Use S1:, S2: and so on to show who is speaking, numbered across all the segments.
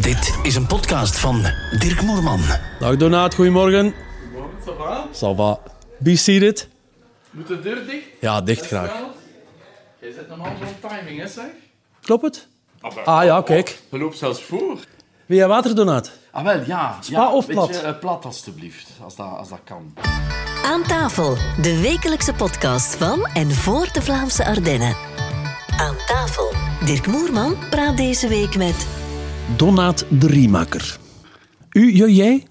S1: Dit is een podcast van Dirk Moerman.
S2: Dag Donaat, goedemorgen.
S3: Ça va?
S2: Salva. Be seated.
S3: Moet de deur dicht?
S2: Ja, dicht
S3: Best
S2: graag.
S3: wel. Jij zet normaal zo'n timing, hè, zeg?
S2: Klopt het? Ah ja, kijk.
S3: Je loopt zelfs voor.
S2: Wil jij water, Donaat?
S3: Ah, wel, ja.
S2: Spa
S3: ja,
S2: of plat?
S3: Beetje, eh, plat, alstublieft, als dat, als dat kan.
S4: Aan tafel, de wekelijkse podcast van en voor de Vlaamse Ardennen. Aan tafel, Dirk Moerman praat deze week met
S2: Donaat de Riemaker. U, je, jij?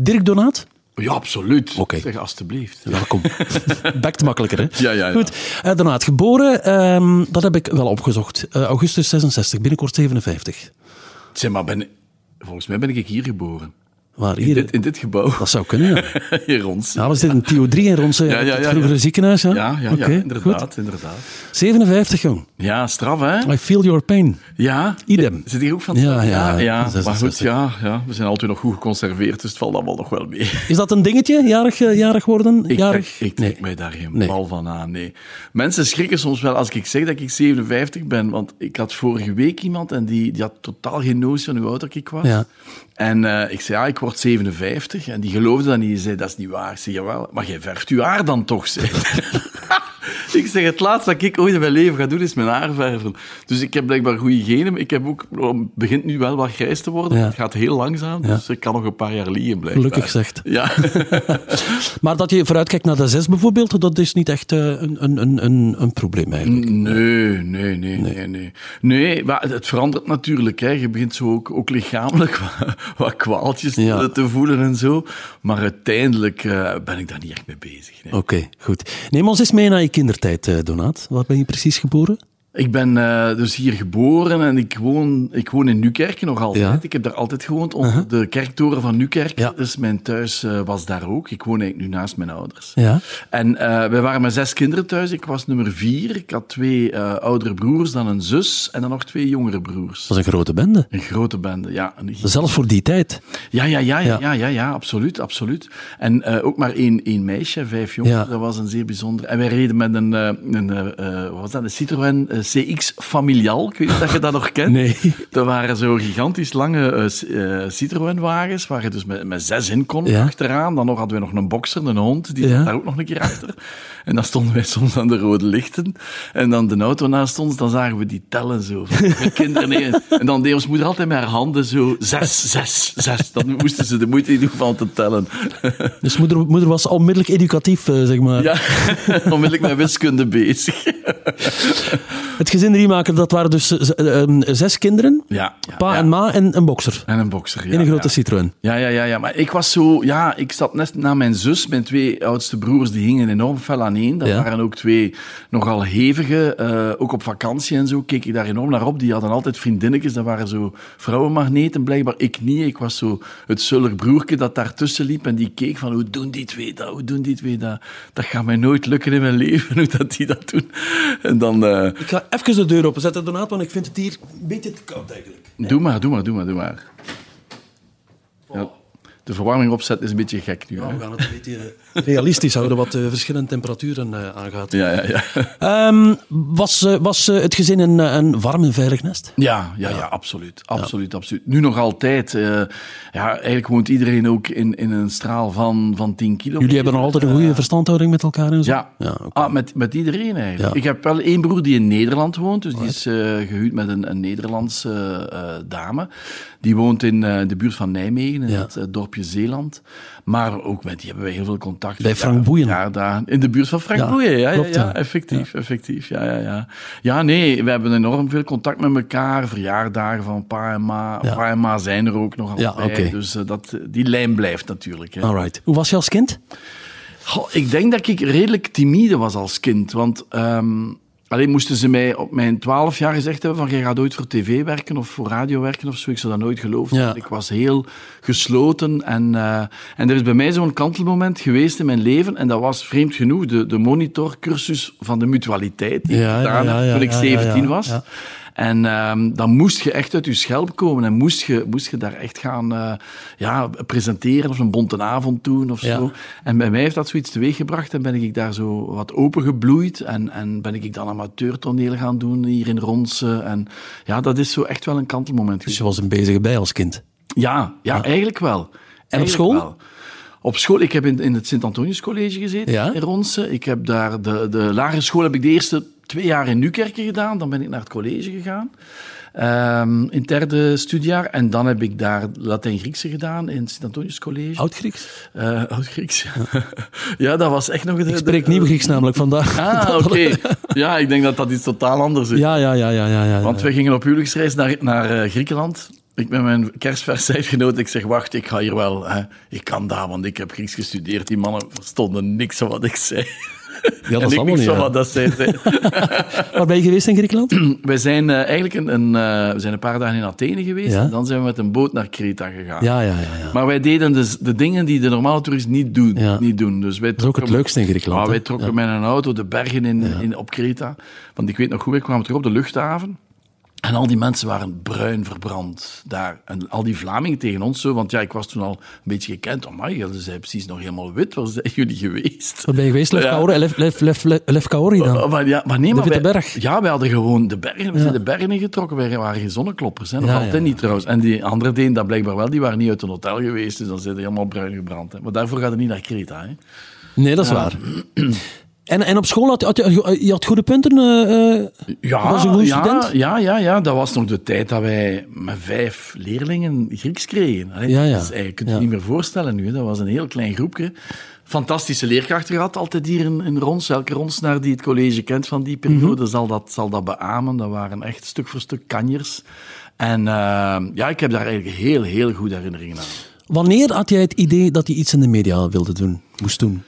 S2: Dirk Donaat?
S3: Ja, absoluut.
S2: Oké.
S3: Zeg, alstublieft.
S2: Welkom. Bekt makkelijker, hè?
S3: Ja, ja, ja.
S2: Goed. Eh, Donaat, geboren, ehm, dat heb ik wel opgezocht. Eh, augustus 66, binnenkort 57.
S3: Zeg, maar ben... Volgens mij ben ik hier geboren.
S2: Waar
S3: In
S2: hier?
S3: dit, in dit gebouw.
S2: Dat zou kunnen, ja.
S3: hier rond.
S2: Ja, was dit een Theo 3 in Ronse?
S3: Ja, ja, ja,
S2: het
S3: ja.
S2: vroegere ziekenhuis, ja?
S3: Ja, ja, ja,
S2: Oké,
S3: inderdaad,
S2: goed.
S3: inderdaad.
S2: 57, jong.
S3: Ja, straf, hè?
S2: I feel your pain.
S3: Ja.
S2: Idem.
S3: Zit hier ook van?
S2: Ja, ja,
S3: ja. Maar goed,
S2: 66.
S3: ja, ja. We zijn altijd nog goed geconserveerd, dus het valt allemaal nog wel mee.
S2: Is dat een dingetje, jarig, eh, jarig worden?
S3: Ik trek,
S2: jarig?
S3: ik trek
S2: nee.
S3: mij daar geen
S2: Nee.
S3: bal van aan, nee. Mensen schrikken soms wel als ik zeg dat ik 57 ben, want ik had vorige week iemand en die, die had totaal geen notie van hoe oud ik was.
S2: Ja.
S3: En eh, ik zei, ja, ik word 57. En die geloofde dat niet. Die zei, dat is niet waar. Ik zeg, jawel, maar jij verft je haar dan toch, zeg. ik zeg, het laatste dat ik ooit in mijn leven ga doen, is mijn haar verven. Dus ik heb blijkbaar goede genen. maar Ik heb ook, het begint nu wel wat grijs te worden.
S2: Ja.
S3: Het gaat heel langzaam, dus ik kan nog een paar jaar liggen blijven.
S2: Gelukkig zegt.
S3: Ja.
S2: Maar dat je vooruitkijkt naar de zes bijvoorbeeld, dat is niet echt eh, een, een, een, een, een probleem eigenlijk.
S3: Nee, nee, nee, nee, nee. Nee, maar het verandert natuurlijk. Hè. Je begint zo ook, ook lichamelijk wat, wat kwaaltjes te-
S2: Ja.
S3: te voelen en zo. Maar uiteindelijk eh, ben ik daar niet echt mee bezig. nee.
S2: Oké, goed. Neem ons eens mee naar je kindertijd, eh, Donaat. Waar ben je precies geboren?
S3: Ik ben eh, dus hier geboren en ik woon, ik woon in Nukerken nog altijd.
S2: Ja. Uh-huh.
S3: Ik heb daar altijd gewoond, onder de kerktoren van Nukerken.
S2: Ja.
S3: Dus mijn thuis eh, was daar ook. Ik woon eigenlijk nu naast mijn ouders.
S2: Ja.
S3: En eh, wij waren met zes kinderen thuis. Ik was nummer vier. Ik had twee eh, oudere broers, dan een zus en dan nog twee jongere broers.
S2: Dat is een grote bende.
S3: Een grote bende, ja. Een-
S2: Zelfs voor die tijd.
S3: Ja, ja, ja,
S2: Dus- Ja.
S3: ja, ja, ja, ja, absoluut, absoluut. En eh, ook maar één, één meisje, vijf jongens,
S2: Ja.
S3: dat was een zeer bijzonder. En wij reden met een, eh, een eh, eh, wat was dat, een Citroën eh, CX Familial, ik weet niet of je dat nog kent.
S2: Nee.
S3: Dat waren zo gigantisch lange eh, c- eh, Citroën-wagens, waar je dus met, met zes in kon
S2: Ja.
S3: achteraan. Dan nog hadden we nog een bokser, een hond, die
S2: Ja.
S3: zat daar ook nog een keer achter. En dan stonden wij soms aan de rode lichten. En dan de auto naast ons, dan zagen we die tellen zo. Met kinderen neer. En dan deed ons moeder altijd met haar handen zo zes, zes, zes. Dan moesten ze de moeite niet doen van te tellen.
S2: Dus moeder, moeder was onmiddellijk educatief, eh, zeg maar.
S3: Ja, onmiddellijk met wiskunde bezig.
S2: Het gezin Riemaker, dat waren dus eh, z- eh, ehm, zes kinderen.
S3: Ja, ja,
S2: pa
S3: ja.
S2: en ma en een bokser.
S3: En een bokser, ja.
S2: in een grote
S3: ja.
S2: Citroën.
S3: Ja, ja, ja, ja, maar ik was zo... Ja, ik zat net na mijn zus. Mijn twee oudste broers, die hingen enorm fel aan één. Dat
S2: Ja.
S3: waren ook twee nogal hevige. eh, ook op vakantie en zo keek ik daar enorm naar op. Die hadden altijd vriendinnetjes. Dat waren zo vrouwenmagneten blijkbaar. Ik niet. Ik was zo het zullig broerke dat daartussen liep. En die keek van, hoe doen die twee dat? Hoe doen die twee dat? Dat gaat mij nooit lukken in mijn leven, hoe dat die dat doen. En dan... eh,
S2: Ik ga even de deur openzetten, Donaat, want ik vind het hier een beetje te koud eigenlijk.
S3: Doe maar, doe maar, doe maar, doe maar. Ja, de verwarming opzetten is een beetje gek nu.
S2: Nou,
S3: hè?
S2: we gaan het een beetje realistisch houden wat de verschillende temperaturen eh, aangaat.
S3: Ja, ja, ja.
S2: Ehm, was eh, was eh, het gezin een, eh, een warm en veilig nest?
S3: Ja, ja, ja, absoluut. Absoluut, absoluut. Nu nog altijd. eh, ja, eigenlijk woont iedereen ook in, in een straal van, van 10 kilometer.
S2: Jullie hebben nog altijd een goede verstandhouding met elkaar en zo?
S3: Eh, Ja,
S2: ja oké.
S3: ah, met, met iedereen eigenlijk.
S2: Ja.
S3: Ik heb wel één broer die in Nederland woont, dus die is eh, gehuwd met een, een Nederlandse eh, dame. Die woont in eh, de buurt van Nijmegen, in
S2: Ja.
S3: het eh, dorpje Zeeland. Maar ook met die hebben wij heel veel contact.
S2: Bij
S3: Ja,
S2: Frank Boeien.
S3: verjaardagen. in de buurt van Frank
S2: Ja,
S3: Boeien, ja,
S2: klopt,
S3: ja,
S2: ja.
S3: ja, effectief, effectief. Ja, ja, ja. ja, nee, we hebben enorm veel contact met elkaar. Verjaardagen van pa en ma.
S2: Ja.
S3: Pa en ma zijn er ook nog altijd.
S2: Ja, oké. Ah,
S3: Dus eh, dat, die lijn blijft natuurlijk. Hè.
S2: Alright. Hoe was je als kind?
S3: Goh, ik denk dat ik redelijk timide was als kind. Want ehm, alleen moesten ze mij op mijn twaalf jaar gezegd hebben van... jij gaat ooit voor tv werken of voor radio werken of zo. Ik zou dat nooit geloven.
S2: Ja.
S3: Want Ik was heel gesloten. En, eh, en er is bij mij zo'n kantelmoment geweest in mijn leven. En dat was, vreemd genoeg, de, de monitorcursus van de mutualiteit. Die
S2: Ja,
S3: ik gedaan
S2: ja,
S3: heb
S2: ja,
S3: toen ik
S2: ja, ja,
S3: 17
S2: ja,
S3: was.
S2: ja.
S3: En ehm, dan moest je echt uit je schelp komen en moest je, moest je daar echt gaan eh, ja, presenteren of een bonte avond doen of
S2: Ja.
S3: zo. En bij mij heeft dat zoiets teweeggebracht en ben ik daar zo wat opengebloeid en, en ben ik dan amateurtoneel gaan doen hier in Ronsen. En ja, dat is zo echt wel een kantelmoment.
S2: Dus je was een bezige bij als kind.
S3: Ja, ja, eigenlijk wel. Eigenlijk
S2: school?
S3: wel. Op school, ik heb in, in het Sint-Antonius College gezeten
S2: Ja?
S3: in Ronsen. Ik heb daar de, de lagere school heb ik de eerste twee jaar in Nukerken gedaan. Dan ben ik naar het college gegaan. ehm, in het derde studiejaar. En dan heb ik daar Latijn-Griekse gedaan in het Sint-Antonius College.
S2: Oud-Grieks?
S3: Eh, Oud-Grieks. ja. ja, dat was echt nog... De,
S2: Ik spreek
S3: de-
S2: nieuw Grieks namelijk vandaag.
S3: Ah, oké. Ja, ik denk dat dat iets totaal anders is.
S2: Ja, ja, ja, ja, ja. ja.
S3: Want we gingen op huwelijksreis naar, naar eh, Griekenland. Ik ben mijn kerstvers uitgenodigd. Ik zeg, wacht, ik ga hier wel. Hè. Ik kan daar, want ik heb Grieks gestudeerd. Die mannen verstonden niks van wat ik zei.
S2: ja,
S3: en
S2: dat is
S3: ik
S2: allemaal
S3: niks
S2: niet.
S3: van
S2: ja.
S3: wat dat zij zei.
S2: Waar ben je geweest in Griekenland?
S3: Wij zijn eh, eigenlijk een, een, eh, we zijn een paar dagen in Athene geweest.
S2: Ja.
S3: En dan zijn we met een boot naar Kreta gegaan.
S2: Ja, ja, ja. ja.
S3: Maar wij deden dus de dingen die de normale toerist niet, doen,
S2: Ja.
S3: niet doen. Dus wij
S2: Dat is ook het leukste in Griekenland.
S3: maar
S2: hè?
S3: wij trokken met een auto de bergen in, in, op Kreta. Want ik weet nog goed, wij kwamen terug op de luchthaven. En al die mensen waren bruin verbrand daar. En al die Vlamingen tegen ons zo. Want ja, ik was toen al een beetje gekend. Oh my, jullie zijn precies nog helemaal wit. Waar zijn jullie geweest?
S2: Waar ben je geweest? Lef
S3: Ja.
S2: Kaori, Lef, Lef, Lef, Lef, Lef Kaori
S3: Oh,
S2: dan?
S3: Maar, ja, maar nee, maar
S2: Witte
S3: wij-
S2: Berg.
S3: Ja, wij hadden gewoon de bergen. We zijn de bergen ingetrokken. Wij waren geen zonnekloppers. Hè. Nog
S2: Ja,
S3: altijd
S2: ja.
S3: niet trouwens. En die andere deen, dat blijkbaar wel, die waren niet uit een hotel geweest. Dus dan zijn die helemaal bruin gebrand. Hè. Maar daarvoor gaat het niet naar Kreta. Hè.
S2: Nee, dat is waar. En, en op school had, had je, je had goede punten. eh, eh,
S3: Ja,
S2: Was een goede
S3: ja,
S2: student?
S3: Ja, ja, ja, dat was nog de tijd dat wij met vijf leerlingen Grieks kregen. Allee,
S2: Ja, ja.
S3: Dat is eigenlijk- je kunt je
S2: Ja.
S3: niet meer voorstellen nu. hè. Dat was een heel klein groepje. Fantastische leerkrachten gehad, altijd hier in, in Rons. Elke Ronsnaar die het college kent van die periode
S2: Mhm.
S3: zal, dat, zal dat beamen. Dat waren echt stuk voor stuk kanjers. En eh, ja, ik heb daar eigenlijk heel, heel goede herinneringen aan.
S2: wanneer had jij het idee dat je iets in de media wilde doen? Moest doen?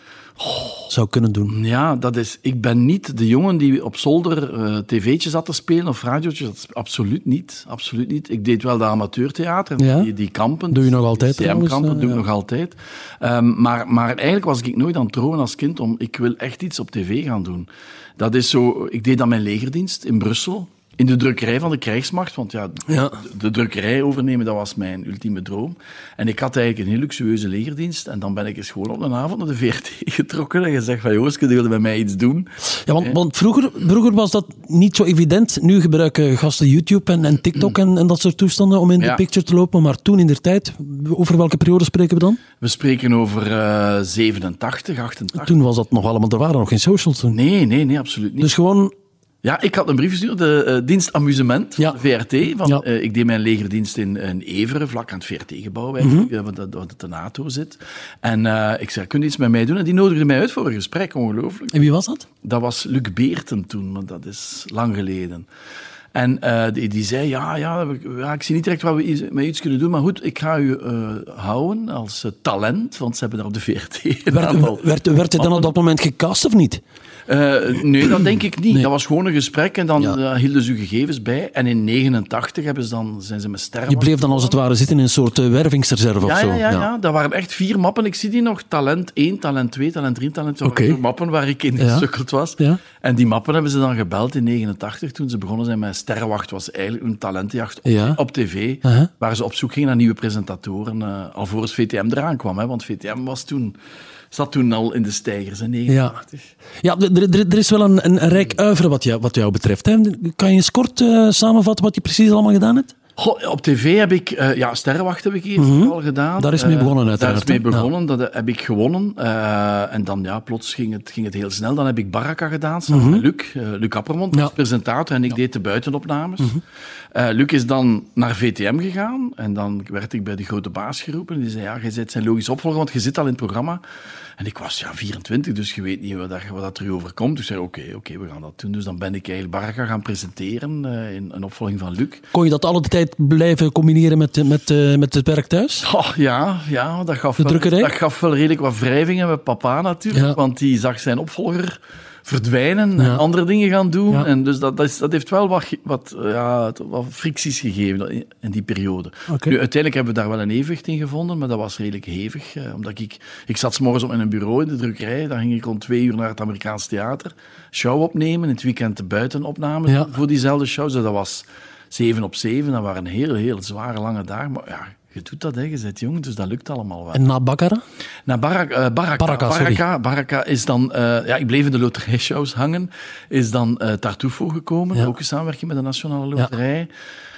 S2: Zou kunnen doen?
S3: Ja, dat is. Ik ben niet de jongen die op zolder eh, tv'tjes zat te spelen of radiootjes. Dat is absoluut niet. Absoluut niet. Ik deed wel de amateurtheater,
S2: Ja?
S3: die, die kampen.
S2: Doe je nog altijd
S3: Die
S2: trouwens,
S3: kampen
S2: eh,
S3: doe ik
S2: ja.
S3: nog altijd. Ehm, maar, maar eigenlijk was ik nooit aan het dromen als kind om ik wil echt iets op tv gaan doen. Dat is zo. Ik deed dan mijn legerdienst in Brussel. In de drukkerij van de krijgsmacht, want ja,
S2: Ja.
S3: de- de drukkerij overnemen, dat was mijn ultieme droom. En ik had eigenlijk een heel luxueuze legerdienst. En dan ben ik eens gewoon op een avond naar de VRT getrokken en gezegd van, Jooske, die wilde bij mij iets doen.
S2: Ja, want, want vroeger, vroeger was dat niet zo evident. Nu gebruiken gasten YouTube en, en TikTok en, en dat soort toestanden om in
S3: Ja.
S2: de picture te lopen. Maar toen in der tijd, over welke periode spreken we dan?
S3: We spreken over eh 87, 88.
S2: Toen was dat nog allemaal, er waren nog geen socials toen.
S3: Nee, nee, nee, absoluut niet.
S2: Dus gewoon,
S3: Ja, ik had een brief gestuurd, de eh, dienst Amusement van
S2: Ja.
S3: de VRT. Van,
S2: Ja.
S3: eh, ik deed mijn legerdienst in, in Everen, vlak aan het VRT-gebouw
S2: Mhm.
S3: eigenlijk, eh, waar, dat- waar de NATO zit. En eh, ik zei, kun je iets met mij doen? En die nodigde mij uit voor een gesprek, ongelooflijk.
S2: en wie was dat?
S3: Dat was Luc Beerten toen, maar dat is lang geleden. En eh, die, die zei, ja, ja, we- ja, ik zie niet direct wat we iets- mee iets kunnen doen, maar goed, ik ga u eh, houden als eh, talent, want ze hebben daar op de VRT een aantal...
S2: Werd, werd, werd hij dan op dat moment gecast of niet?
S3: Eh, nee, dat denk ik niet. Dat was gewoon een gesprek en dan
S2: Ja.
S3: eh, hielden ze uw gegevens bij. En in 89 hebben ze dan, zijn ze met sterren.
S2: Je bleef dan als het ware zitten in een soort eh, wervingsreserve of
S3: Ja,
S2: zo.
S3: ja, ja, ja, dat waren echt vier mappen. Ik zie die nog. Talent 1, talent 2, talent 3, talent 4.
S2: Oké.
S3: Mappen waar ik in gesukkeld was.
S2: Ja.
S3: En die mappen hebben ze dan gebeld in 89 toen ze begonnen zijn met Sterrenwacht. was eigenlijk een talentenjacht op,
S2: Ja.
S3: op tv.
S2: Uh-huh.
S3: Waar ze op zoek gingen naar nieuwe presentatoren. eh alvorens VTM eraan kwam. Hè, want VTM was toen, zat toen al in de stijgers in 89.
S2: Ja, d- d- d- er is wel een, een, een rijk uivere wat jou, wat jou betreft. Hè? Kan je eens kort eh, samenvatten wat je precies allemaal gedaan hebt?
S3: Goh, op tv heb ik, eh, ja, Sterrenwacht heb ik eerst al gedaan.
S2: Mhm. Daar is mee
S3: Eh,
S2: begonnen
S3: Daar is
S2: uiteraard,
S3: mee
S2: hè? Ja.
S3: begonnen, dat heb ik gewonnen. Eh, en dan, ja, plots ging het, ging het heel snel. Dan heb ik Baraka gedaan, samen met Luc, eh, Luc
S2: Mhm.
S3: Appermond,
S2: Ja. Mhm.
S3: als presentator. En ik deed de buitenopnames. Eh, Luc is dan naar VTM gegaan. En dan werd ik bij de grote baas geroepen. En die zei, ja, jij bent zijn logisch opvolger, want je zit al in het programma. En ik was, ja, 24, dus je weet niet wat, daar, wat dat er u overkomt. Dus ik zei, oké, oké, we gaan dat doen. Dus dan ben ik eigenlijk Baraka gaan presenteren eh, in een opvolging van Luc.
S2: Kon je dat alle tijd blijven combineren met, eh, met, eh, met het werk thuis?
S3: Oh, ja, ja dat, gaf
S2: De
S3: wel,
S2: drukkerij?
S3: dat gaf wel redelijk wat wrijvingen met papa natuurlijk.
S2: Ja.
S3: Want die zag zijn opvolger verdwijnen
S2: Ja.
S3: en andere dingen gaan doen.
S2: Ja.
S3: En dus dat, dat, is, dat heeft wel wat, ge- wat, eh, ja, het- wat fricties gegeven in- in die periode.
S2: Oké.
S3: Nu, uiteindelijk hebben we daar wel een evenwicht in gevonden, maar dat was redelijk hevig. eh, omdat ik, ik zat 's morgens op mijn bureau in de drukkerij, dan ging ik rond twee uur naar het Amerikaans theater, show opnemen, in het weekend de buitenopnames
S2: Ja.
S3: voor diezelfde shows. Dus dat was zeven op zeven, dat waren heel, heel zware, lange dagen. Maar ja, je doet dat, hè. je bent jong, dus dat lukt allemaal wel.
S2: En na Bakkara?
S3: Naar Barak, eh, Baraka.
S2: Baraka, sorry.
S3: Baraka, Baraka is dan... eh, ja, ik bleef in de loterijshows hangen. Is dan eh Tartufo gekomen.
S2: Ja.
S3: Ook in samenwerking met de Nationale Loterij.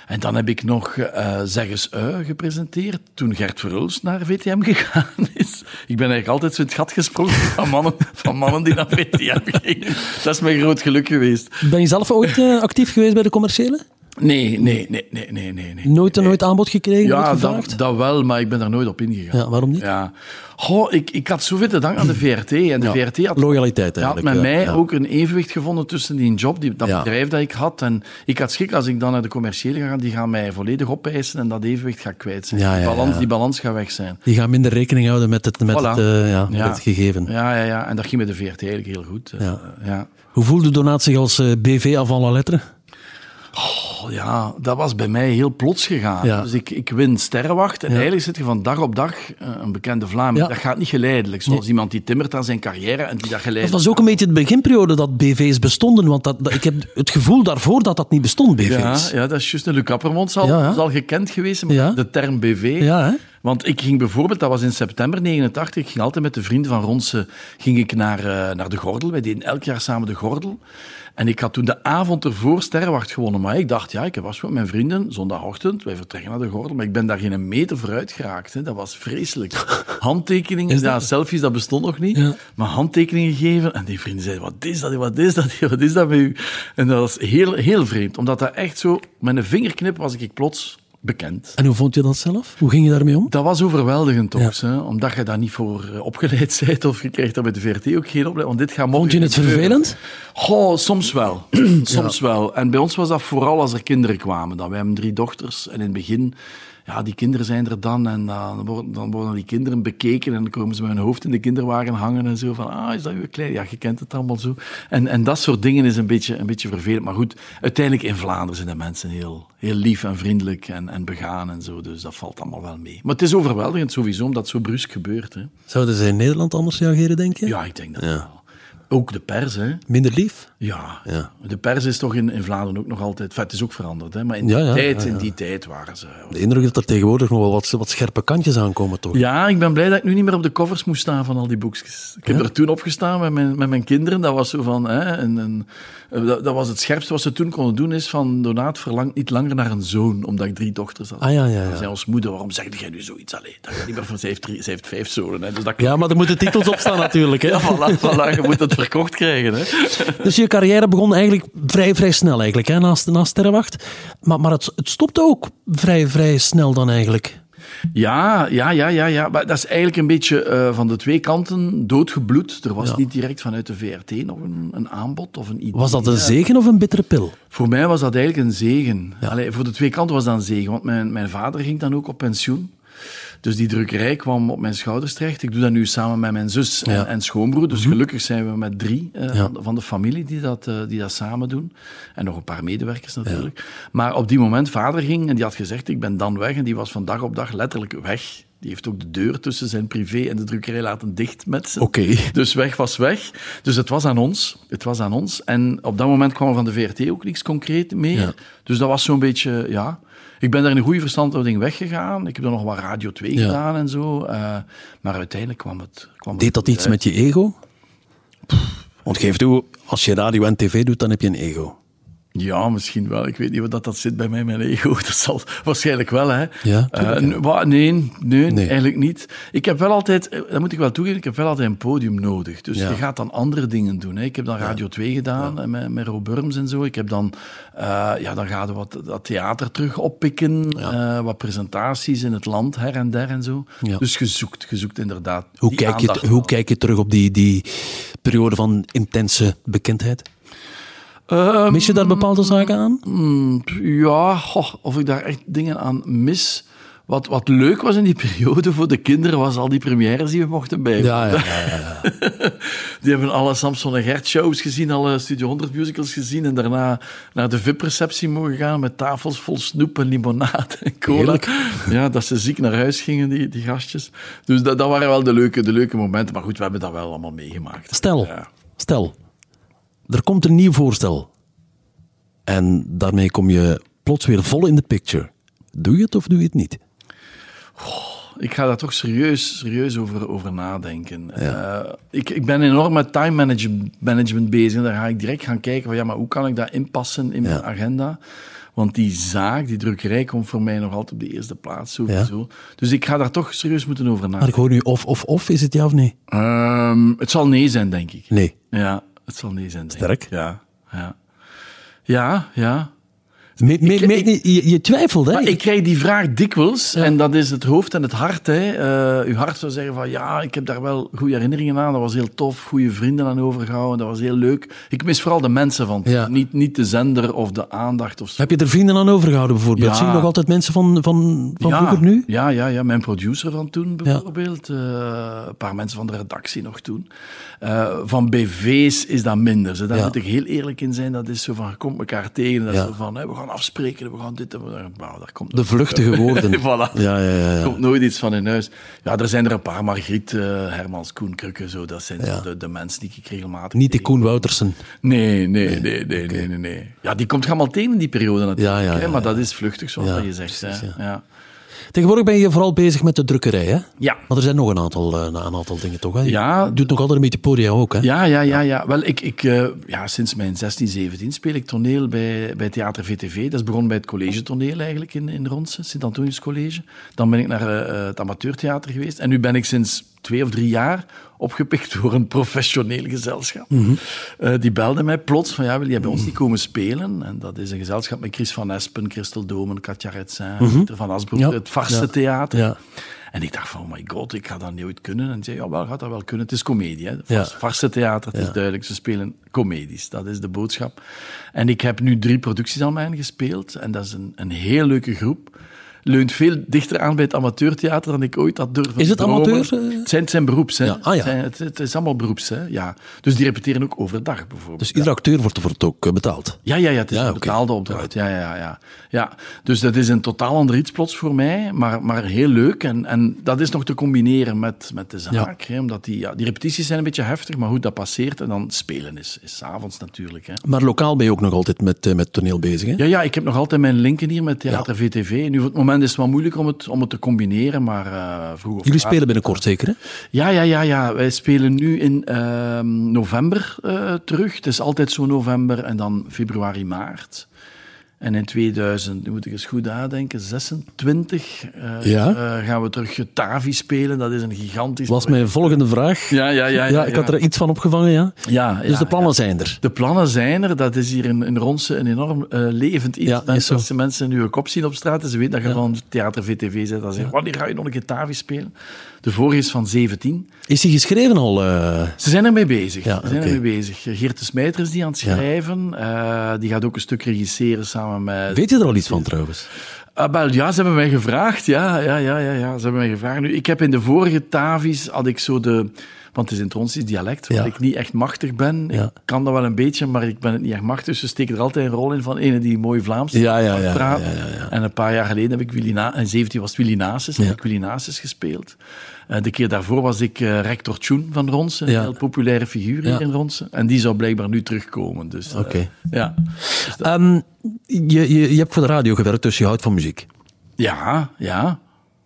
S3: En dan heb ik nog eh Zeg eens Ui gepresenteerd. Toen Gert Verhulst naar VTM gegaan is. Ik ben eigenlijk altijd zo in het gat gesprongen van mannen, van mannen die naar VTM gingen. Dat is mijn groot geluk geweest.
S2: Ben je zelf ooit eh, actief geweest bij de commerciële?
S3: Nee, nee, nee, nee, nee, nee. nee.
S2: Nooit, nooit aanbod gekregen? nooit
S3: Ja,
S2: gevraagd?
S3: dat, dat wel, maar ik ben daar nooit op ingegaan.
S2: Ja, waarom niet?
S3: Ja. Goh, ik, ik had zoveel te danken aan de VRT. En de VRT had,
S2: Loyaliteit
S3: had
S2: eigenlijk.
S3: met
S2: ja,
S3: mij
S2: ja.
S3: ook een evenwicht gevonden tussen die job, die, dat
S2: Ja.
S3: bedrijf dat ik had. En ik had schrik als ik dan naar de commerciële ga gaan, die gaan mij volledig opeisen en dat evenwicht gaat kwijt zijn.
S2: Ja, ja,
S3: die, balans,
S2: ja.
S3: die balans gaat weg zijn.
S2: Die gaan minder rekening houden met het, met
S3: Voilà.
S2: het, eh, ja, met
S3: Ja.
S2: het gegeven.
S3: Ja, ja, ja. En dat ging met de VRT eigenlijk heel goed. Eh,
S2: Ja.
S3: ja.
S2: Hoe voelde Donaat zich als eh, BV avant la lettre?
S3: Oh ja, dat was bij mij heel plots gegaan.
S2: Ja.
S3: Dus ik, ik win Sterrenwacht en eigenlijk zit je van dag op dag eh, een bekende Vlaming.
S2: Ja.
S3: Dat gaat niet geleidelijk. Zoals iemand die timmert aan zijn carrière en die dat
S2: Dat
S3: geleidelijk...
S2: was ook een beetje de beginperiode dat BV's bestonden, want dat, dat- ik heb het gevoel daarvoor dat dat niet bestond,
S3: ja,
S2: BV's.
S3: ja, dat is juist. Luc Kappermond zal,
S2: Ja, ja.
S3: zal gekend geweest zijn met
S2: Ja.
S3: de term BV.
S2: Ja, hè?
S3: Want ik ging bijvoorbeeld, dat was in september 89, ik ging altijd met de vrienden van Ronse ging ik naar, eh, naar de Gordel. Wij deden elk jaar samen de Gordel. En ik had toen de avond ervoor Sterrenwacht gewonnen. Maar ik dacht, ja, ik was met mijn vrienden, zondagochtend, wij vertrekken naar de Gordel. Maar ik ben daar geen meter vooruit geraakt. Hè. Dat was vreselijk. Handtekeningen, ja, selfies, dat bestond nog niet. Maar handtekeningen geven. En die vrienden zeiden, wat is dat, wat is dat, wat is dat bij u? En dat was heel, heel vreemd. Omdat dat echt zo, met een vingerknip was ik plots bekend.
S2: En hoe vond je dat zelf? Hoe ging je daarmee om?
S3: Dat was overweldigend toch, hè? omdat je daar niet voor eh, opgeleid bent of je krijgt daar bij de VRT ook geen opleiding. Want dit gaat
S2: Vond je het vervelend?
S3: eh, Goh, soms wel. soms wel. En bij ons was dat vooral als er kinderen kwamen. Dan. Wij hebben drie dochters en in het begin, ja, die kinderen zijn er dan en dan worden, dan worden die kinderen bekeken en dan komen ze met hun hoofd in de kinderwagen hangen en zo van, ah, is dat uw klein? Ja, je kent het allemaal zo. En, en dat soort dingen is een beetje, een beetje vervelend. Maar goed, uiteindelijk in Vlaanderen zijn de mensen heel, heel lief en vriendelijk en, en begaan en zo. Dus dat valt allemaal wel mee. Maar het is overweldigend sowieso, omdat het zo brusk gebeurt. Hè.
S2: Zouden ze in Nederland anders reageren, denk je?
S3: Ja, ik denk dat wel. Ook de pers, hè.
S2: Minder lief?
S3: Ja,
S2: Ja.
S3: de pers is toch in, in Vlaanderen ook nog altijd... enfin, het is ook veranderd, hè, maar in
S2: Ja,
S3: die,
S2: ja,
S3: tijd,
S2: ja, ja.
S3: In die tijd waren ze...
S2: De indruk dat er tegenwoordig nog wel wat, wat scherpe kantjes aankomen, toch?
S3: Ja, ik ben blij dat ik nu niet meer op de covers moest staan van al die boekjes. Ik heb
S2: Ja?
S3: er toen opgestaan met mijn, met mijn kinderen. Dat was zo van... Hè, een, een- eh, dat, dat was het scherpste wat ze toen konden doen, is van... Donaat verlangt niet langer naar een zoon, omdat ik drie dochters had.
S2: Ah, ja, ja, ja.
S3: Dan zei ons moeder, waarom zeg jij nu zoiets? Allee, dat gaat niet meer van... Ze heeft, drie, ze heeft vijf zonen, hè, dus dat...
S2: Ja, maar er moeten titels op staan natuurlijk. Hè?
S3: Ja, voilà, voilà, je moet het verkocht krijgen. Hè.
S2: Dus je carrière begon eigenlijk vrij, vrij snel, eigenlijk, hè? Naast, naast Sterrenwacht. Maar, maar het, het stopte ook vrij, vrij snel dan eigenlijk.
S3: Ja, ja, ja, ja, ja. Maar dat is eigenlijk een beetje eh, van de twee kanten doodgebloed. Er was
S2: Ja.
S3: niet direct vanuit de VRT nog een, een aanbod of een idee.
S2: Was dat een
S3: Ja.
S2: zegen of een bittere pil?
S3: Voor mij was dat eigenlijk een zegen. Allee, voor de twee kanten was dat een zegen, want mijn, mijn vader ging dan ook op pensioen. Dus die drukkerij kwam op mijn schouders terecht. Ik doe dat nu samen met mijn zus en,
S2: Ja. Mhm.
S3: en schoonbroer. Dus gelukkig zijn we met drie
S2: Ja.
S3: eh, van de- van de familie die dat, eh, die dat samen doen. En nog een paar medewerkers natuurlijk. Maar op die moment, vader ging en die had gezegd, ik ben dan weg. En die was van dag op dag letterlijk weg. Die heeft ook de deur tussen zijn privé en de drukkerij laten dicht met ze. Dus weg was weg. Dus het was aan ons. Het was aan ons. En op dat moment kwam er van de VRT ook niks concreet meer.
S2: Ja.
S3: Dus dat was zo'n beetje, ja... Ik ben daar in een goede verstandhouding weggegaan. Ik heb dan nog wat Radio 2
S2: Ja.
S3: gedaan en zo. eh, maar uiteindelijk kwam het... Kwam
S2: Deed dat
S3: het
S2: iets met je ego? Want geef toe, als je radio en tv doet, dan heb je een ego.
S3: Ja, misschien wel. Ik weet niet wat dat, dat zit bij mij, mijn ego. Dat zal waarschijnlijk wel, hè.
S2: Ja,
S3: Eh, n- wa- nee, nee,
S2: Nee.
S3: eigenlijk niet. Ik heb wel altijd, eh, dat moet ik wel toegeven, ik heb wel altijd een podium nodig. Dus
S2: Ja.
S3: je gaat dan andere dingen doen. Hè. Ik heb dan Radio 2 gedaan eh, met, met Rob Burms en zo. Ik heb dan, eh, ja, dan gaan we wat dat theater terug oppikken. eh, wat presentaties in het land, her en der en zo.
S2: Ja.
S3: Dus gezoekt, gezoekt inderdaad.
S2: Hoe,
S3: die
S2: kijk je,
S3: aandacht
S2: hoe
S3: wel.
S2: kijk je terug op die, die periode van intense bekendheid?
S3: Ehm,
S2: Mis je daar bepaalde zaken aan?
S3: Mm, ja, goh, of ik daar echt dingen aan mis. Wat, wat leuk was in die periode voor de kinderen, was al die premières die we mochten bij.
S2: Ja, ja, ja, ja.
S3: Die hebben alle Samson en Gert shows gezien, alle Studio 100 musicals gezien en daarna naar de VIP-receptie mogen gaan met tafels vol snoep en limonade en cola.
S2: Heerlijk.
S3: Ja, dat ze ziek naar huis gingen, die, die gastjes. Dus dat, dat waren wel de leuke, de leuke momenten. Maar goed, we hebben dat wel allemaal meegemaakt.
S2: Stel,
S3: Ja.
S2: stel, er komt een nieuw voorstel. En daarmee kom je plots weer vol in de picture. Doe je het of doe je het
S3: Ah.
S2: niet?
S3: ik ga daar toch serieus, serieus over, over nadenken. Eh, ik, ik ben enorm met time management, management bezig. En daar ga ik direct gaan kijken van ja, maar hoe kan ik dat inpassen in
S2: Ja.
S3: mijn agenda? Want die zaak, die drukkerij, komt voor mij nog altijd op de eerste plaats. Sowieso. Dus ik ga daar toch serieus moeten over
S2: Maar ik
S3: nadenken.
S2: hoor nu of, of, of. Is het ja of nee?
S3: Ehm, het zal nee zijn, denk ik.
S2: Nee.
S3: Ja, het zal nee zijn, denk
S2: Sterk.
S3: ik. Ja, ja. Ja, ja.
S2: Me- me- me- nee, je, je twijfelt, hè?
S3: Maar ik krijg die vraag dikwijls, en dat is het hoofd en het hart. Hè. Eh, uw hart zou zeggen van, ja, ik heb daar wel goede herinneringen aan. Dat was heel tof, goede vrienden aan overgehouden. Dat was heel leuk. Ik mis vooral de mensen van,
S2: Ja.
S3: niet, niet de zender of de aandacht of zo.
S2: Heb je er vrienden aan overgehouden bijvoorbeeld?
S3: Ja.
S2: Zie je nog altijd mensen van, van, van
S3: ja,
S2: vroeger nu?
S3: Ja, ja, ja, mijn producer van toen bijvoorbeeld. Eh, een paar mensen van de redactie nog toen. Eh, van BV's is dat minder. Zo, Daar
S2: Ja.
S3: moet ik heel eerlijk in zijn. Dat is zo van, je komt elkaar tegen. Dat
S2: Ja.
S3: is zo van, hè, we gaan afspreken, we gaan dit en we gaan... Nou, daar komt
S2: De vluchtige woorden. Ja,
S3: Voilà.
S2: ja, ja, ja.
S3: Er komt nooit iets van in huis. Ja, er zijn er een paar. Margriet, eh, Hermans, Koen, Krukke, zo. Dat zijn
S2: Ja.
S3: zo de, de mensen die ik regelmatig...
S2: Niet de
S3: tegenkom.
S2: Koen Woutersen.
S3: Nee, nee, nee, nee, nee, nee, nee, Ja, die komt allemaal tegen in die periode natuurlijk.
S2: Ja, ja,
S3: hè,
S2: ja,
S3: maar
S2: ja.
S3: dat is vluchtig, zoals
S2: Ja,
S3: dat je zegt. hè.
S2: precies,
S3: ja. Ja.
S2: Tegenwoordig ben je vooral bezig met de drukkerij, hè?
S3: Ja.
S2: Maar er zijn nog een aantal, eh, een aantal dingen, toch? Hè? Je
S3: Ja.
S2: doet nog altijd een beetje podia ook, hè?
S3: Ja, ja, ja, ja. Wel, ik, ik, eh, ja, sinds mijn 16, 17 speel ik toneel bij, bij Theater VTV. Dat is begonnen bij het college toneel eigenlijk in, in Ronsen, Sint-Antonius College. Dan ben ik naar eh, eh, het amateurtheater geweest. En nu ben ik sinds twee of drie jaar opgepikt door een professioneel gezelschap.
S2: Mhm.
S3: Eh, die belde mij plots van, ja, wil jij bij ons niet komen spelen? En dat is een gezelschap met Chris van Espen, Christel Domen, Katja Retsin, Pieter van Asbroek,
S2: Mhm. Ja.
S3: het Varse
S2: Ja.
S3: Theater.
S2: Ja.
S3: En ik dacht van, oh my god, ik ga dat nooit kunnen. En zei, ja, wel gaat dat wel kunnen. Het is komedie, hè.
S2: Ja.
S3: Vars, Varse theater, het
S2: Ja.
S3: is duidelijk. Ze spelen comedies, dat is de boodschap. En ik heb nu drie producties al mij gespeeld. En dat is een, een heel leuke groep. Leunt veel dichter aan bij het amateurtheater dan ik ooit had durven
S2: Is het
S3: dromen.
S2: amateur, eh?
S3: Het zijn, het zijn beroeps, hè.
S2: Ja, ah, ja.
S3: Het, zijn- het, het is allemaal beroeps, hè. Ja. Dus die repeteren ook overdag, bijvoorbeeld.
S2: Dus iedere acteur wordt ervoor ook eh, betaald.
S3: Ja, ja, ja, het is
S2: Ja,
S3: een
S2: oké.
S3: betaalde opdracht. Ja, ja, ja, ja. ja. Dus dat is een totaal ander iets plots voor mij, maar, maar heel leuk. En, en dat is nog te combineren met, met de zaak. Hè, omdat die, ja, die repetities zijn een beetje heftig, maar goed, dat passeert. En dan spelen is, is 's avonds natuurlijk. Hè.
S2: Maar lokaal ben je ook nog altijd met, eh, met toneel bezig, hè?
S3: Ja, ja, ik heb nog altijd mijn linken hier met Theater VTV. Nu, op het moment is het wel moeilijk om het, om het te combineren, maar eh vroeg of
S2: Jullie
S3: laat-
S2: spelen binnenkort zeker, hè?
S3: Ja, ja, ja, ja. Wij spelen nu in ehm, november eh, terug. Het is altijd zo november en dan februari, maart. En in 2000, nu moet ik eens goed nadenken, 26 eh,
S2: Ja.
S3: eh, gaan we terug Getavi spelen. Dat is een gigantisch...
S2: was mijn volgende vraag.
S3: Ja, ja, ja, ja,
S2: ik
S3: ja.
S2: had er iets van opgevangen, ja.
S3: Ja,
S2: Dus
S3: ja,
S2: de plannen
S3: ja.
S2: zijn er.
S3: De plannen zijn er. Dat is hier in, in Ronsen een enorm eh, levend iets.
S2: Ja, is
S3: mensen,
S2: zo.
S3: als de mensen nu een kop zien op straat en ze weten dat je van Theater VTV zit, dan zeggen wanneer ga je nog een Getavi spelen? De vorige is van 17.
S2: Is die geschreven al? eh?
S3: Ze zijn ermee bezig.
S2: Ja,
S3: Ze zijn
S2: oké.
S3: ermee bezig. Geert de Smijter is die aan het
S2: Ja.
S3: schrijven. Eh, die gaat ook een stuk regisseren samen met...
S2: Weet je er al iets van trouwens?
S3: Ah, wel, ja, ze hebben mij gevraagd. Ja, ja, ja, ja, ja, ze hebben mij gevraagd. Nu, ik heb in de vorige Tavis, had ik zo de... Want het is in het Ronsisch dialect, waar
S2: Ja.
S3: ik niet echt machtig ben.
S2: Ja.
S3: Ik kan dat wel een beetje, maar ik ben het niet echt machtig. Dus ze steken er altijd een rol in van ene die mooi Vlaams
S2: Ja, ja, ja,
S3: praat.
S2: ja, ja,
S3: En een paar jaar geleden heb ik Willy Na- in 17 was het Willy Nasus, heb ik Willy Nasus gespeeld. Eh, de keer daarvoor was ik eh, rector Tjoen van Ronsen,
S2: Ja.
S3: een heel populaire figuur
S2: Ja.
S3: hier in Ronsen. En die zou blijkbaar nu terugkomen. Dus, eh,
S2: Oké.
S3: ja.
S2: Ehm, je, je, je hebt voor de radio gewerkt, dus je houdt van muziek.
S3: ja, ja.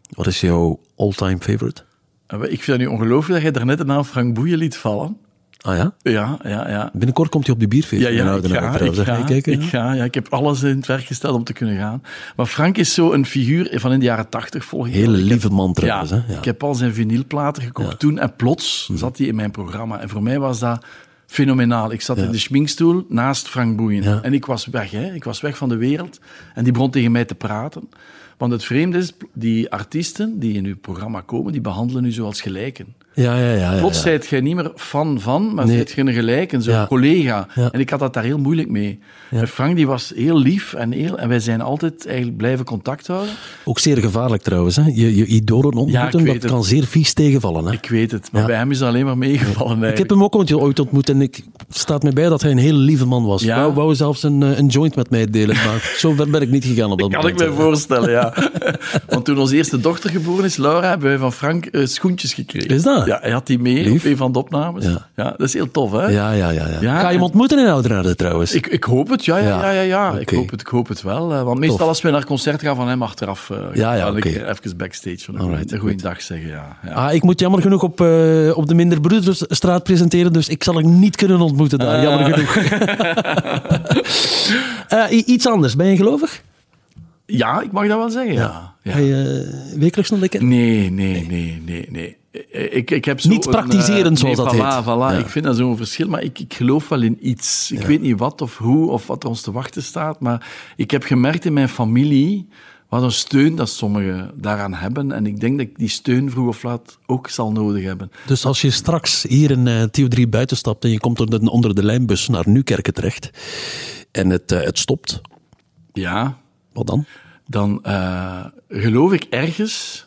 S2: Wat is jouw all-time favorite?
S3: Eh, Ik vind het nu ongelooflijk dat jij daarnet de naam Frank Boeien liet vallen.
S2: Ah ja?
S3: Ja, ja, ja.
S2: Binnenkort komt hij op nou de bierfeest.
S3: Ja,
S2: in
S3: ja, ik
S2: Oudenaarde
S3: ga, ik
S2: trouwens. Ga
S3: ga,
S2: je kijken?
S3: ik ga, ja. Ik heb alles in het werk gesteld om te kunnen gaan. Maar Frank is zo een figuur van in de jaren tachtig volgens
S2: Hele lieve man trouwens.
S3: ja,
S2: hè? Ja. Mhm.
S3: Ik heb al zijn vinylplaten gekocht toen en plots zat hij in mijn programma. En voor mij was dat fenomenaal. Ik zat in de schminkstoel naast Frank Boeien.
S2: Ja.
S3: En ik was weg, hè. Ik was weg van de wereld. En die begon tegen mij te praten. Want het vreemde is, die artiesten die in uw programma komen, die behandelen u zoals gelijken.
S2: Ja, ja, ja. ja,
S3: Plots
S2: ja.
S3: zijt jij niet meer fan van, maar
S2: Nee.
S3: zijt je een gelijk en zo'n
S2: Ja.
S3: collega.
S2: Ja.
S3: En ik had dat daar heel moeilijk mee. En Frank die was heel lief en, heel, en wij zijn altijd eigenlijk blijven contact houden.
S2: Ook zeer gevaarlijk trouwens. Hè? Je, je idolen
S3: Ja, ik
S2: ontmoeten,
S3: weet
S2: dat
S3: het.
S2: kan zeer vies tegenvallen. Hè?
S3: Ik weet het, maar
S2: Ja.
S3: bij hem is het alleen maar meegevallen
S2: Ik heb
S3: eigenlijk.
S2: hem ook ooit- ooit ontmoet en ik staat me bij dat hij een hele lieve man was.
S3: Ja.
S2: Wou, wou zelfs een, eh, een joint met mij delen, maar zo ver ben ik niet gegaan op dat
S3: Kan ik
S2: moment. eh.
S3: me voorstellen, ja. Want toen onze eerste dochter geboren is, Laura, hebben wij van Frank eh, schoentjes gekregen.
S2: Is dat?
S3: Ja, hij had die mee
S2: Lief.
S3: op een van de opnames.
S2: Ja.
S3: Ja. dat is heel tof, hè?
S2: Ja, ja, ja, ja.
S3: Ja,
S2: Ga je hem
S3: en-
S2: ontmoeten in Oudenaarde trouwens?
S3: Ik, ik hoop het, ja, ja,
S2: Ja.
S3: ja, ja. ja. Ik,
S2: Oké.
S3: hoop het ik hoop het wel. eh, Want meestal
S2: Tof.
S3: als we naar concert gaan van hem achteraf, eh,
S2: Ja, ja,
S3: kan ik
S2: oké.
S3: even backstage van hem
S2: Alright,
S3: een goede dag zeggen, ja. ja.
S2: Ah, ik moet jammer genoeg op, eh, op de Minder Broedersstraat presenteren, dus ik zal hem niet kunnen ontmoeten daar, jammer genoeg. Eh, i- iets anders, ben je gelovig?
S3: Ja, ik mag dat wel zeggen, ja. ja.
S2: Ga je eh, wekelijks naar de kerk?
S3: Nee, nee, nee, nee, nee. Eh, Ik, ik heb zo
S2: Niet
S3: een,
S2: praktiserend, zoals
S3: eh, nee,
S2: dat
S3: voilà,
S2: heet. Ja.
S3: Voilà, Ik vind dat zo'n verschil, maar ik, ik geloof wel in iets. Ik weet niet wat of hoe of wat er ons te wachten staat, maar ik heb gemerkt in mijn familie wat een steun dat sommigen daaraan hebben. En ik denk dat ik die steun vroeg of laat ook zal nodig hebben.
S2: Dus als je straks hier in eh Theo 3 buiten stapt en je komt onder de, onder de lijnbus naar Nukerken terecht en het, eh, het stopt,
S3: Ja,
S2: wat dan?
S3: dan eh, geloof ik ergens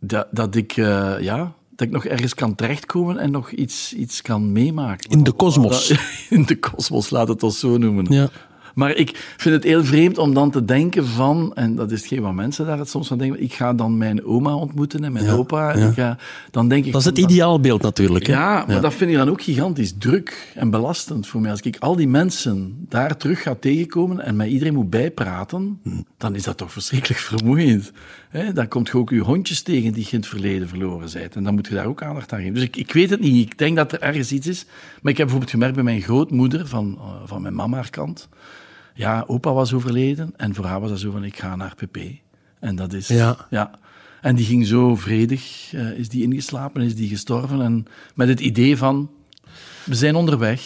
S3: dat, dat, ik, eh, ja, dat ik nog ergens kan terechtkomen en nog iets, iets kan meemaken.
S2: In de kosmos.
S3: Dat- In de kosmos, laat het ons zo noemen.
S2: Ja.
S3: Maar ik vind het heel vreemd om dan te denken van, en dat is hetgeen wat mensen daar het soms van denken, ik ga dan mijn oma ontmoeten en mijn opa. En ik ga, dan denk ik,
S2: Dat is het
S3: van,
S2: ideaalbeeld natuurlijk. Hè?
S3: ja, maar dat vind ik dan ook gigantisch druk en belastend voor mij. Als ik al die mensen daar terug ga tegenkomen en mij iedereen moet bijpraten, dan is dat toch verschrikkelijk vermoeiend. Hè, dan komt je ook je hondjes tegen die je in het verleden verloren bent. En dan moet je daar ook aandacht aan geven. Dus ik, ik weet het niet. Ik denk dat er ergens iets is. Maar ik heb bijvoorbeeld gemerkt bij mijn grootmoeder van, eh, van mijn mama haar kant. Ja, opa was overleden en voor haar was dat zo van, ik ga naar PP. En dat is...
S2: Ja.
S3: Ja. En die ging zo vredig, eh, is die ingeslapen, is die gestorven. En met het idee van, we zijn onderweg.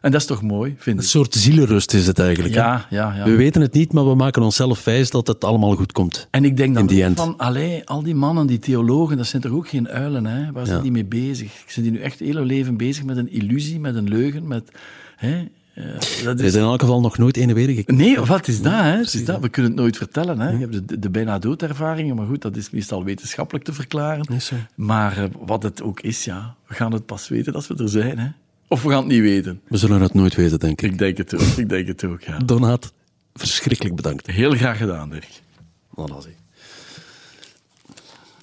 S3: En dat is toch mooi, vind
S2: Een
S3: ik.
S2: soort zielenrust is het eigenlijk. hè?
S3: Ja, ja, ja.
S2: We weten het niet, maar we maken onszelf wijs dat het allemaal goed komt.
S3: En ik denk
S2: In
S3: dan
S2: the
S3: ook
S2: end.
S3: van, allee, al die mannen, die theologen, dat zijn toch ook geen uilen, hè? Waar zijn die mee bezig? Zijn die nu echt heel hun leven bezig met een illusie, met een leugen, met... Hè? Eh, dat
S2: Er is in elk geval nog nooit een weer gekeken.
S3: Nee, wat is dat? Hè? Het is dat. We kunnen het nooit vertellen. Hè? Je hebt de, de bijna doodervaringen, maar goed, dat is meestal wetenschappelijk te verklaren. Maar eh, wat het ook is, ja, we gaan het pas weten als we er zijn. Hè? Of we gaan het niet weten.
S2: We zullen het nooit weten, denk ik.
S3: Ik denk het ook. Ik denk het ook ja.
S2: Donaat, verschrikkelijk bedankt.
S3: Heel graag gedaan, Dirk.
S2: Malazi.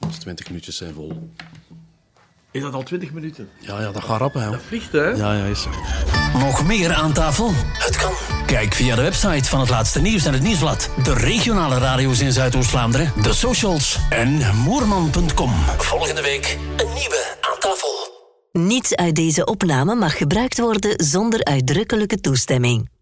S2: Dus 20 minuutjes zijn vol.
S3: Is dat al 20 minuten?
S2: Ja, ja, dat gaat rappen, hè.
S3: Vliegt, hè?
S2: Ja, ja, is zo.
S1: Nog meer aan tafel? Het kan. Kijk via de website van het laatste nieuws en het nieuwsblad. De regionale radio's in Zuidoost-Vlaanderen. De socials en moerman.com. Volgende week een nieuwe aan tafel.
S4: Niets uit deze opname mag gebruikt worden zonder uitdrukkelijke toestemming.